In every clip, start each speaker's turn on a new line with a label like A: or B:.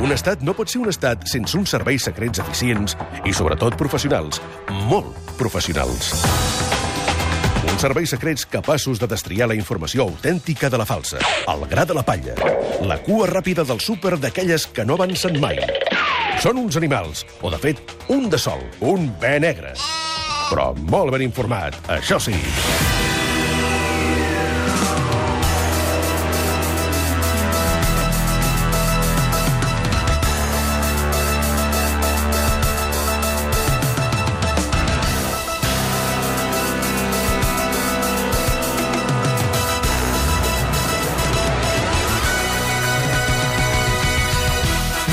A: Un estat no pot ser un estat sense uns serveis secrets eficients i, sobretot, professionals. Molt professionals. Uns serveis secrets capaços de destriar la informació autèntica de la falsa, el gra de la palla, la cua ràpida del súper d'aquelles que no avancen mai. Són uns animals, o de fet, un de sol, un bé negre. Però molt ben informat, això sí.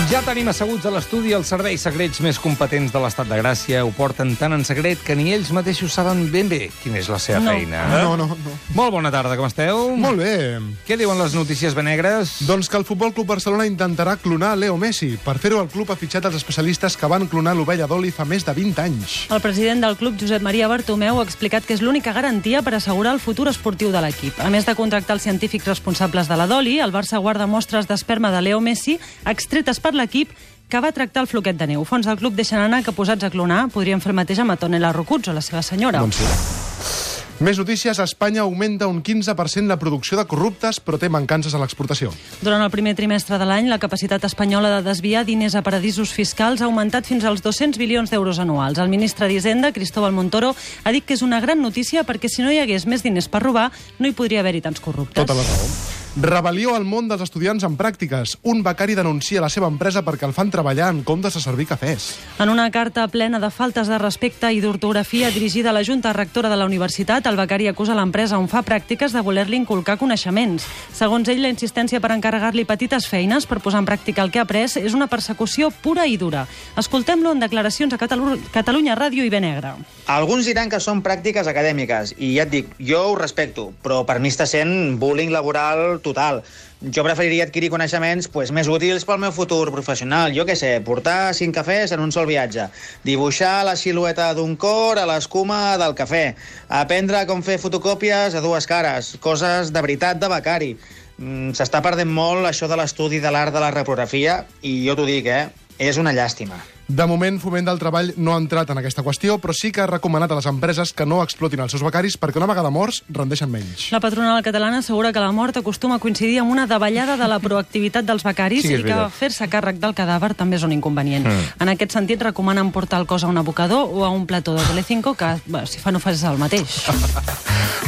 B: Ja tenim asseguts a l'estudi els serveis secrets més competents de l'estat de Gràcia. Ho porten tan en secret que ni ells mateixos saben ben bé quina és la seva feina.
C: Eh? No, no, no.
B: Molt bona tarda, com esteu?
C: Molt bé.
B: Què diuen les notícies benegres?
C: Doncs que el Futbol Club Barcelona intentarà clonar Leo Messi. Per fer-ho, el club ha fitxat els especialistes que van clonar l'ovella d'oli fa més de 20 anys.
D: El president del club, Josep Maria Bartomeu, ha explicat que és l'única garantia per assegurar el futur esportiu de l'equip. A més de contractar els científics responsables de la Doli, el Barça guarda mostres d'esperma de Leo Messi extretes per l'equip que va tractar el floquet de neu. Fons del club deixen anar que posats a clonar podrien fer el mateix amb Antonella Rocuzzo, la seva senyora. Doncs
C: Més notícies, Espanya augmenta un 15% la producció de corruptes, però té mancances a l'exportació.
D: Durant el primer trimestre de l'any, la capacitat espanyola de desviar diners a paradisos fiscals ha augmentat fins als 200 bilions d'euros anuals. El ministre d'Hisenda, Cristóbal Montoro, ha dit que és una gran notícia perquè si no hi hagués més diners per robar, no hi podria haver-hi tants corruptes.
C: Tota la raó. Rebel·lió al món dels estudiants en pràctiques. Un becari denuncia la seva empresa perquè el fan treballar en comptes de servir cafès.
D: En una carta plena de faltes de respecte i d'ortografia dirigida a la Junta Rectora de la Universitat, el becari acusa l'empresa on fa pràctiques de voler-li inculcar coneixements. Segons ell, la insistència per encarregar-li petites feines per posar en pràctica el que ha après és una persecució pura i dura. Escoltem-lo en declaracions a Catalu Catalunya Ràdio i Benegra.
E: Alguns diran que són pràctiques acadèmiques, i ja et dic, jo ho respecto, però per mi està sent bullying laboral total. Jo preferiria adquirir coneixements pues, més útils pel meu futur professional. Jo què sé, portar cinc cafès en un sol viatge, dibuixar la silueta d'un cor a l'escuma del cafè, aprendre com fer fotocòpies a dues cares, coses de veritat de becari. Mm, S'està perdent molt això de l'estudi de l'art de la reprografia, i jo t'ho dic, eh? És una llàstima.
C: De moment, Foment del Treball no ha entrat en aquesta qüestió, però sí que ha recomanat a les empreses que no explotin els seus becaris perquè una vegada morts rendeixen menys.
D: La patronal catalana assegura que la mort acostuma a coincidir amb una davallada de la proactivitat dels becaris
B: Sí que
D: sí,
B: és
D: i que
B: veritat. Ah.
D: fer-se càrrec del cadàver també és un inconvenient. Mm. En aquest sentit, recomanen portar el cos a un abocador o a un plató de Telecinco que, bé, si fan oferes el mateix.
C: Ah,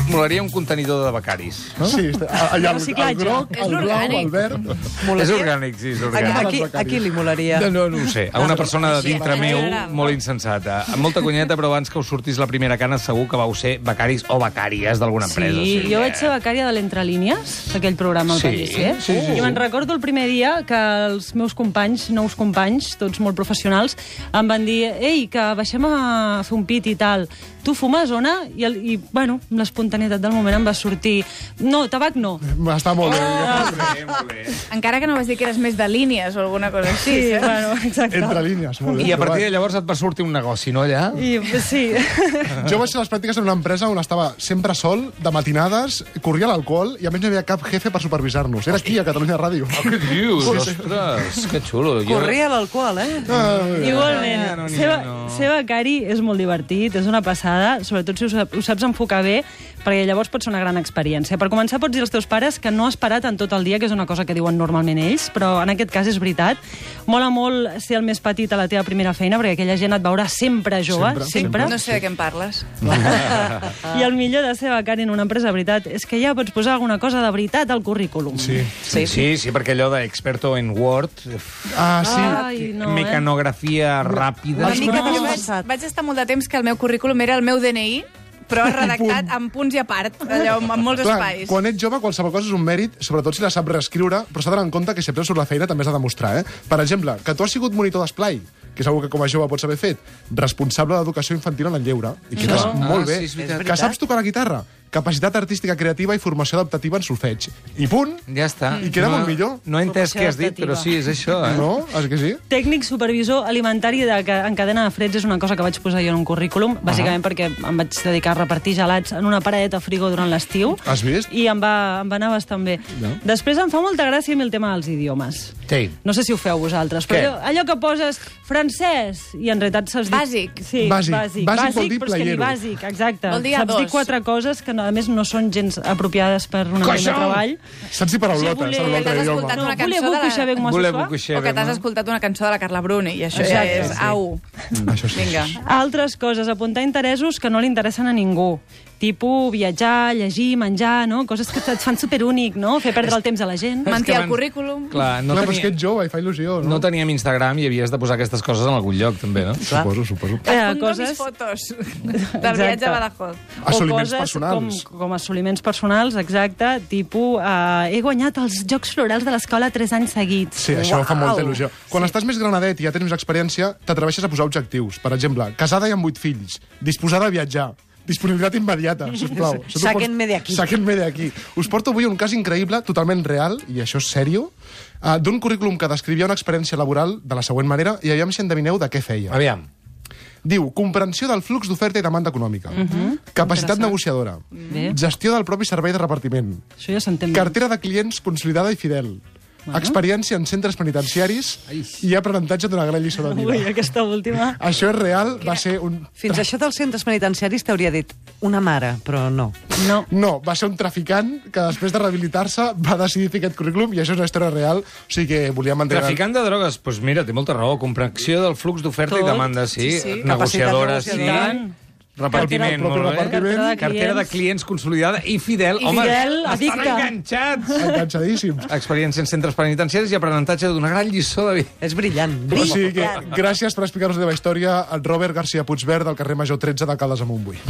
B: Molaria un contenidor de becaris.
C: Sí, està- allà el, el
D: Reciclatge.
C: groc,
F: És
C: el blau,
F: orgànic.
C: el verd...
B: És orgànic, sí, és
F: A, a,
B: orgànic.
F: qui, a qui li molaria?
B: No, no, no ho sé. A una persona de dintre
F: Sí,
B: meu
F: m'agrada.
B: molt insensata. Amb molta conyeta, però abans que us sortís la primera cana segur que vau ser becaris o becàries d'alguna empresa.
D: Sí, jo
B: eh?
D: vaig ser becària de l'Entre Línies, aquell programa al
B: Sí,
D: País, eh?
B: sí, sí, sí.
D: I me'n recordo el primer dia que els meus companys, nous companys, tots molt professionals, em van dir, ei, que baixem a fer un pit i tal. Tu fumes, Ona? I, el, i bueno, amb l'espontaneïtat del moment em va sortir, no, tabac no.
C: Està molt bé.
B: Molt bé, molt bé.
G: Encara que no vas dir que eres més de línies o alguna cosa així.
D: Sí,
G: saps?
D: bueno, exacte.
C: Entre línies, molt ben
B: I a
C: trobat.
B: partir de llavors et va sortir un negoci, no, allà?
D: I, sí.
C: Jo vaig fer les pràctiques en una empresa on estava sempre sol, de matinades, corria l'alcohol i a més no hi havia cap jefe per supervisar-nos. Era aquí, a Catalunya Ràdio.
B: Què dius? Ostres, que xulo. Jo-
F: Corria l'alcohol, eh?
D: Igualment.
B: no, ni
D: Ser,
B: no.
D: no. ser becari és molt divertit, és una passada, sobretot si ho, sap- ho saps enfocar bé, perquè llavors pot ser una gran experiència. Per començar, pots dir als teus pares que no has parat en tot el dia, que és una cosa que diuen normalment ells, però en aquest cas és veritat. Mola molt ser el més petit a la teva primera feina, perquè aquella gent et veurà sempre jove,
C: Sempre,
D: sempre.
G: No sé de què em parles.
D: I el millor de ser becari en una empresa de veritat és que ja pots posar alguna cosa de veritat al currículum.
C: Sí.
B: Sí, sí, sí, perquè allò d'experto en Word,
C: Ah, sí.
D: Ai, no, eh?
B: mecanografia ràpida...
F: Una mica
G: Jo
F: que
G: vaig, vaig estar molt de temps que el meu currículum era el meu DNI, però redactat amb punts i a part, allò, amb, amb molts
C: Clar,
G: espais.
C: quan ets jove qualsevol cosa és un mèrit, sobretot si la saps reescriure, però s'ha d'anar en compte que si aprens sobre la feina també s'ha de demostrar. Eh? Per exemple, que tu has sigut monitor d'esplai, que és algo que com a jove pots haver fet, responsable d'educació infantil en el lleure, i que estàs
B: Ah,
C: molt bé,
B: sí, és veritat.
C: que saps tocar la guitarra, capacitat artística creativa i formació adaptativa en solfeig. I punt.
B: Ja està.
C: I queda molt millor.
B: No he entès
D: Formació
B: què has dit,
D: adaptativa.
B: però sí, és això, eh?
C: No? És que sí?
D: Tècnic supervisor alimentari de, ca- en cadena de freds és una cosa que vaig posar jo en un currículum, bàsicament perquè em vaig dedicar a repartir gelats en una paradeta frigo durant l'estiu.
C: Has vist?
D: I em va, em va anar bastant bé. No. Després em fa molta gràcia a mi el tema dels idiomes.
B: Sí.
D: No sé si ho feu vosaltres,
B: Què?
D: però allò, allò que poses francès i en realitat saps dir...
G: Bàsic.
D: Sí,
C: Bàsic.
D: bàsic. Bàsic,
C: Bàsic vol dir
D: però és que ni
C: playero.
D: bàsic, exacte.
G: Vol dir a
D: saps dir
G: dos.
D: quatre coses que, no, a més, no són gens apropiades per una feina de treball.
C: Saps si eh, paraulota,
D: voler-
C: saps l'altre
G: L'has
C: idioma?
G: escoltat
D: No,
G: una
D: voler
G: cançó de
D: buco
G: la-
D: i saber com es
B: Voler
D: fa.
B: bucoixer.
G: O que t'has escoltat una cançó de la Carla Bruni, i això ja
D: Exacte,
G: és
D: sí.
G: au.
C: Això sí.
G: Vinga.
D: Altres coses, apuntar interessos que no li interessen a ningú. Tipo viatjar, llegir, menjar, no? Coses que et fan superúnic, no? Fer perdre el temps a la
B: És
D: gent.
B: que
G: Mentir al
B: abans-
G: currículum.
B: Clar,
C: No
B: no,
C: Clar, però és que
B: tenia,
C: ets jove i fa il·lusió, no?
B: no teníem Instagram i havies de posar aquestes coses en algun lloc, també, no?
C: Suposo, suposo.
D: Eh,
G: Escondo
D: coses-
G: mis fotos
D: Exacte.
G: del viatge a Badajoz.
C: Assoliments
D: o coses
C: personals.
D: Com, com assoliments personals, exacte, tipus eh, he guanyat els Jocs Florals de l'escola 3 anys seguits.
C: Sí, això fa molta il·lusió.
D: Sí.
C: Quan estàs més granadet i ja tens més experiència, t'atreveixes a posar objectius. Per exemple, casada i amb vuit fills, disposada a viatjar, disponibilitat immediata, sisplau. Això t'ho
F: Sáquenme
C: pots-
F: de aquí.
C: Sáquenme de aquí. Us porto avui un cas increïble, totalment real, i això és sèrio, eh, d'un currículum que descrivia una experiència laboral de la següent manera, i aviam si endevineu de què feia.
B: Aviam.
C: Diu, comprensió del flux d'oferta i demanda econòmica, capacitat negociadora,
D: Bé.
C: gestió del propi servei de repartiment,
D: Això ja s'entén bé.
C: Cartera de clients consolidada i fidel. Experiència en centres penitenciaris i aprenentatge d'una gran lliçó de
D: Ui,
C: vida.
D: aquesta última.
C: Això és real, va ser un...
F: Fins això dels centres penitenciaris t'hauria dit una mare, però no.
D: No.
C: No, va ser un traficant que després de rehabilitar-se va decidir fer aquest currículum i això és una història real, o sigui que volia mantenir...
B: Traficant de drogues, doncs pues mira, té molta raó. Comprensió del flux d'oferta i
D: Tot,
B: demanda, sí.
F: sí, sí.
B: Negociadora,
F: Capacitat
B: sí.
D: negociadora.
B: Repartiment,
C: El
B: molt
C: propi
B: bé.
C: repartiment.
B: Cartera de clients. Cartera de clients consolidada i fidel.
D: I
B: Home,
D: fidel,
B: estan
D: addicte.
B: enganxats.
C: Enganxadíssims.
B: Experiència en centres penitenciaris i aprenentatge d'una gran lliçó de vida.
F: És brillant,
C: O
F: brillant.
C: sigui que gràcies per explicar-nos la teva història, el Robert García Puigverd, del carrer Major 13 de Caldes a Montbui.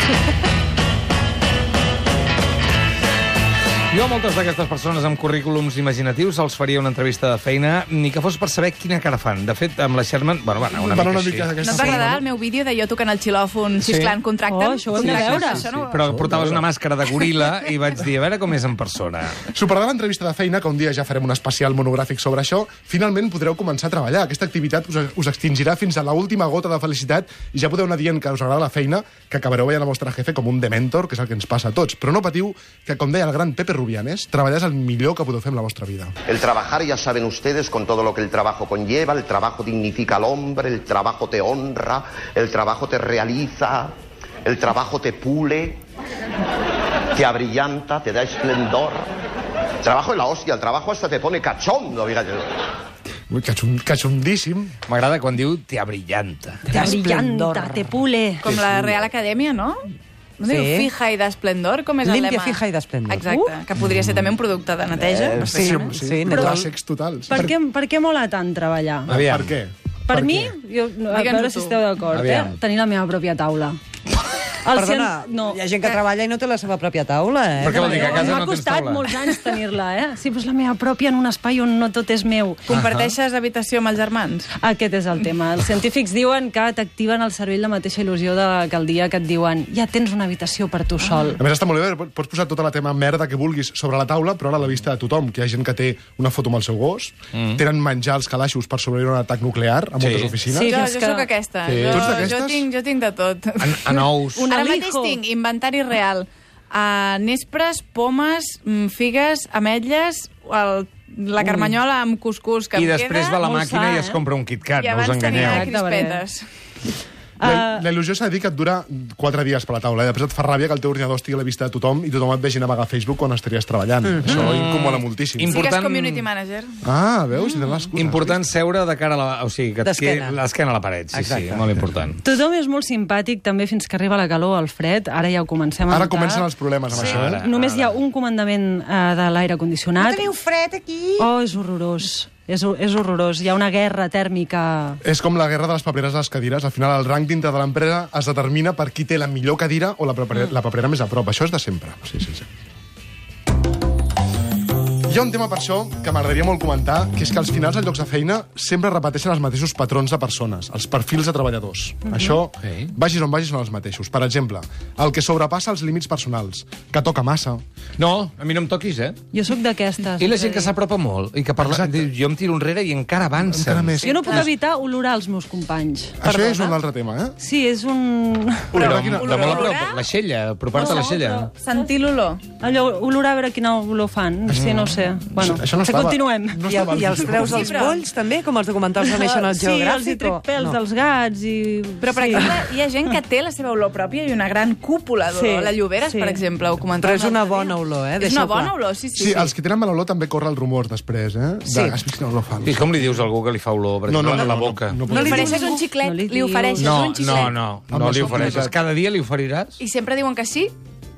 B: Jo a moltes d'aquestes persones amb currículums imaginatius els faria una entrevista de feina ni que fos per saber quina cara fan. De fet, amb la Sherman... Bueno, va anar una
C: Van
B: mica,
C: una
B: així.
C: mica
G: No
C: d'aquesta
G: et va agradar
C: forma,
G: el meu vídeo de jo tocant el xilòfon, xisclant, contracta'm?
D: Oh, això ho hem de
G: Contracta'm,
D: veure.
G: Això no...
B: Però portaves una màscara de goril·la i vaig dir, a veure com és en persona.
C: Superada l'entrevista de feina, que un dia ja farem un especial monogràfic sobre això, finalment podreu començar a treballar. Aquesta activitat us, us extingirà fins a l'última gota de felicitat i ja podeu anar dient que us agrada la feina, que acabareu veient el vostre jefe com un dementor, que és el que ens passa a tots. Però no patiu, que com deia el gran Pepe Rubianes, treballar és el millor que podeu fer amb la vostra vida.
H: El trabajar, ya saben ustedes, con todo lo que el trabajo conlleva, el trabajo dignifica al hombre, el trabajo te honra, el trabajo te realiza, el trabajo te pule, te abrillanta, te da esplendor. El trabajo es la hostia, el trabajo hasta te pone cachondo, fíjate.
C: Ui, cachum, cachundíssim.
B: M'agrada quan diu, te abrillanta.
D: Te brillanta,
F: Esplendor.
D: te pule.
G: Com la Real Acadèmia, no? No
F: Sí.
G: diu fija i d'esplendor? Com és el
F: Limpia,
G: lema?
F: fija i d'esplendor.
G: Exacte, que podria ser també un producte de neteja.
F: Eh,
G: perfectament.
F: Sí, netol.
C: clàssics totals.
D: Per què, per què mola tant treballar?
B: Aviam.
C: Per què?
D: Per,
C: Per
D: mi,
C: què?
D: jo, no, a
G: Digue'ns-ho
D: veure
G: tu.
D: si esteu d'acord, eh?
B: Aviam.
D: tenir la meva pròpia taula. El
F: Perdona,
D: cien- no.
F: hi ha gent que treballa i no té la seva pròpia taula, eh?
B: Per què vol dir que a casa
D: M'ha
B: no tens
D: costat
B: taula?
D: molts anys tenir-la, eh? Sí, però és la meva pròpia en un espai on no tot és meu.
G: Comparteixes habitació amb els germans?
D: Aquest és el tema. Els científics diuen que t'activen al cervell la mateixa il·lusió de, que el dia que et diuen ja tens una habitació per tu sol.
C: A més, està molt bé, pots posar tota la tema merda que vulguis sobre la taula, però ara a la vista de tothom, que hi ha gent que té una foto amb el seu gos, tenen menjar als calaixos per sobreviure a un atac nuclear a moltes
B: Mm. Sí.
C: oficines.
D: Sí,
G: Jo,
D: és
G: jo
D: que-
G: sóc aquesta.
C: Sí.
G: Jo,
C: Tu ets d'aquestes?
G: jo, tinc, jo tinc de tot.
B: En, en ous.
D: Un
G: Ara mateix
D: alijo.
G: tinc inventari real. Uh, nespres, pomes, mm, figues, ametlles, el,
F: Uh.
G: la carmanyola amb cuscús que
B: I
G: em
B: després
G: queda,
B: va la
D: molt
B: màquina
D: sa,
B: i es
D: eh?
B: compra un KitKat,
G: i
B: no us
G: abans tenia
B: enganyeu.
D: Exacte, Valent.
G: crispetes.
C: La, la il·lusió s'ha de dir que et dura 4 dies per la taula. I després et fa ràbia que el teu ordinador estigui a la vista de tothom i tothom et vegi navegar a Facebook quan estaries treballant. Això incomoda moltíssim.
B: Im-
G: Sigues
B: Important-
G: community manager.
C: Ah,
B: Mm.
C: veus? I te l'excusa.
B: Important seure de cara a la... O sigui, que et
F: D'esquena.
B: quedi l'esquena a la paret. Sí, sí,
F: Exacte.
B: molt important.
D: Tothom és molt simpàtic, també, fins que arriba la calor, el fred. Ara ja ho comencem a
C: Ara
D: notar.
C: comencen els problemes amb sí. això, eh?
B: Ara,
D: Només
B: ara.
D: hi ha un comandament eh, de l'aire condicionat.
F: fred aquí?
D: Oh, és horrorós. És, ho- és horrorós. Hi ha una guerra tèrmica...
C: És com la guerra de les papereres a les cadires. Al final, el rang dintre de l'empresa es determina per qui té la millor cadira o la paperera, la paperera més a prop. Això és de sempre. Sí, sí, sí. Hi ha un tema per això que m'agradaria molt comentar, que és que als finals de llocs de feina sempre repeteixen els mateixos patrons de persones, els perfils de treballadors. Això,
B: Sí.
C: vagis on vagis, són els mateixos. Per exemple, el que sobrepassa els límits personals, que toca massa.
B: No, a mi no em toquis, eh?
D: Jo sóc d'aquestes.
B: I la
D: és
B: gent
D: a
B: que
D: dir,
B: s'apropa molt i que parla... Diu, jo em tiro enrere i encara avança.
C: Encara més.
D: Jo no puc
B: Ah.
D: evitar olorar els meus companys.
C: Això ja és un altre tema, eh?
D: Sí, és un...
B: Però,
C: Però quina-
B: de molt a prop,
G: Olorar?
B: la xella, apropar-te a la xella.
G: Sentir l'olor.
D: Allò, olorar a veure quina olor fan. Sí,
B: Mm.
D: no ho sé. Bueno,
C: Això no
D: que
C: estava-
D: continuem.
C: No
F: I,
C: estava
F: I els treus
G: Sí,
F: als
G: però-
F: bolls, també, com els documentals de National
D: sí, els hi
F: Geographic?
D: trec
F: o-
D: pèls
F: no.
D: dels gats i...
G: Però, per
D: sí.
G: exemple, hi ha gent que té la seva olor pròpia i una gran cúpula d'olor.
D: Sí,
G: La Lloberes,
D: sí.
G: per exemple, ho comentava.
F: Però és
G: un
F: una
G: altre
F: bona
G: dia.
F: olor, eh?
G: És una
F: Deixeu
G: bona
F: clar.
G: olor, sí, sí.
C: Sí, els que tenen mala olor també corre el rumor després, eh? De,
F: Sí.
C: Has vist quina olor fa?
B: I com li dius a algú que li fa olor, per
C: No, no,
B: exemple,
C: no,
B: a la
C: no,
B: boca?
C: no, no,
G: No
C: no,
G: li
C: no,
G: ofereixes
D: dius.
G: un xiclet,
D: No li
G: li,
D: dius.
G: ofereixes
B: no,
G: un
B: no,
G: xiclet.
B: no,
C: Amb
B: no
C: la
B: li
C: sopa
B: ofereixes.
C: de-
B: Cada dia li oferiràs?
G: I sempre diuen que sí.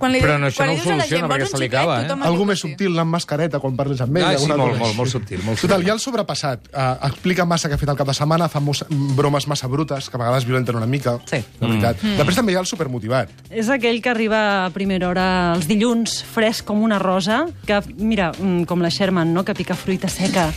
G: Quan li,
B: Però no, això
G: quan
B: no
G: li
B: ho
G: dius a
B: soluciona,
G: la gent,
B: perquè
G: "Vols un
B: se li
G: xiclet?"
B: acaba, eh?
G: Tothom et diu
C: Algú
G: que
C: més
G: sí.
C: subtil, anar amb mascareta quan parles amb ell.
B: Ah, sí,
C: alguna
B: molt,
C: cosa
B: molt,
C: així.
B: molt subtil, molt
C: Total,
B: subtil.
C: ja el sobrepassat. Uh, explica massa que ha fet el cap de setmana, fa mos, bromes massa brutes, que a vegades violenten una mica.
F: Sí.
C: La veritat. Mm. Després també hi ha el supermotivat.
D: És aquell que arriba a primera hora els dilluns, fresc com una rosa, que, mira, mm, com la Sherman, no?, que pica fruita seca.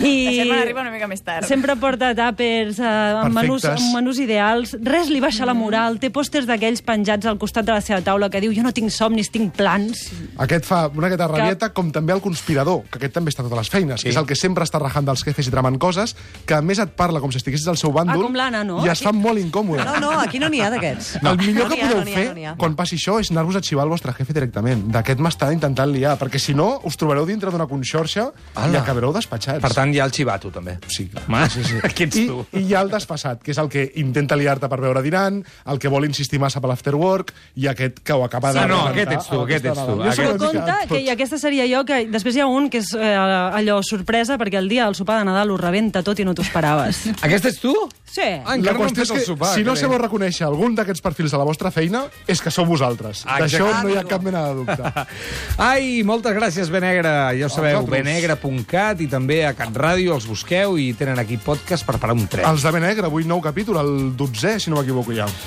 D: I...
G: La Sherman arriba una mica més tard.
D: Sempre porta tàpers, eh, amb, menús,
C: Perfectes.
D: amb menús ideals, res li baixa la moral, té pòsters d'aquells penjats al costat de la seva taula que diu jo no tinc somnis, tinc plans.
C: Aquest fa una aquesta rabieta, com també el conspirador, que aquest també està a totes les feines, sí. que és el que sempre està rajant dels jefes i tramant coses, que a més et parla com si estiguessis al seu bàndol
D: com l'Anna, no?
C: i es fa molt incòmode.
F: No, no, aquí no n'hi ha d'aquests.
C: No. El millor
F: No
C: que
F: n'hi ha,
C: podeu
F: no n'hi ha,
C: fer
F: no n'hi ha.
C: quan passi això és anar-vos a xivar el vostre jefe directament. D'aquest m'està intentant liar, perquè si no us trobareu dintre d'una conxorxa i
B: Ala.
C: acabareu despatxats.
B: Per tant, hi ha el xivato, també.
C: Sí, clar.
B: Ma, sí, sí. Qui ets
C: I,
B: tu?
C: I hi ha el despassat, que és el que intenta liar-te per veure dinant, el que vol insistir massa per l'afterwork, i aquest que ho acaba de...
B: Sí, no,
C: rebentar
B: aquest ets tu,
C: amb
B: aquest
C: aquesta
B: ets tu.
C: dada. Jo
B: Aquest-
C: sóc
D: Però
C: una mica
D: compte, que i aquesta seria jo, que després hi ha un que és eh, allò sorpresa, perquè el dia del sopar de Nadal ho rebenta tot i no t'ho esperaves.
B: Aquest ets tu?
D: Sí.
B: Ah,
C: La
B: encara no hem
C: qüestió
B: fet
C: és
B: el
C: que
B: sopar.
C: si no
B: crec.
C: sabeu reconèixer algun d'aquests perfils a la vostra feina, és que sou vosaltres.
B: Ah,
C: D'això
B: exacte.
C: no hi ha cap mena de dubte.
B: Ai, moltes gràcies, Benegre. Ja ho sabeu,
C: vosaltres.
B: benegre.cat i també a Cat Ràdio els busqueu i tenen aquí podcast per parar un tren.
C: Els de Benegre, avui nou capítol, el 12è, si no m'equivoco ja.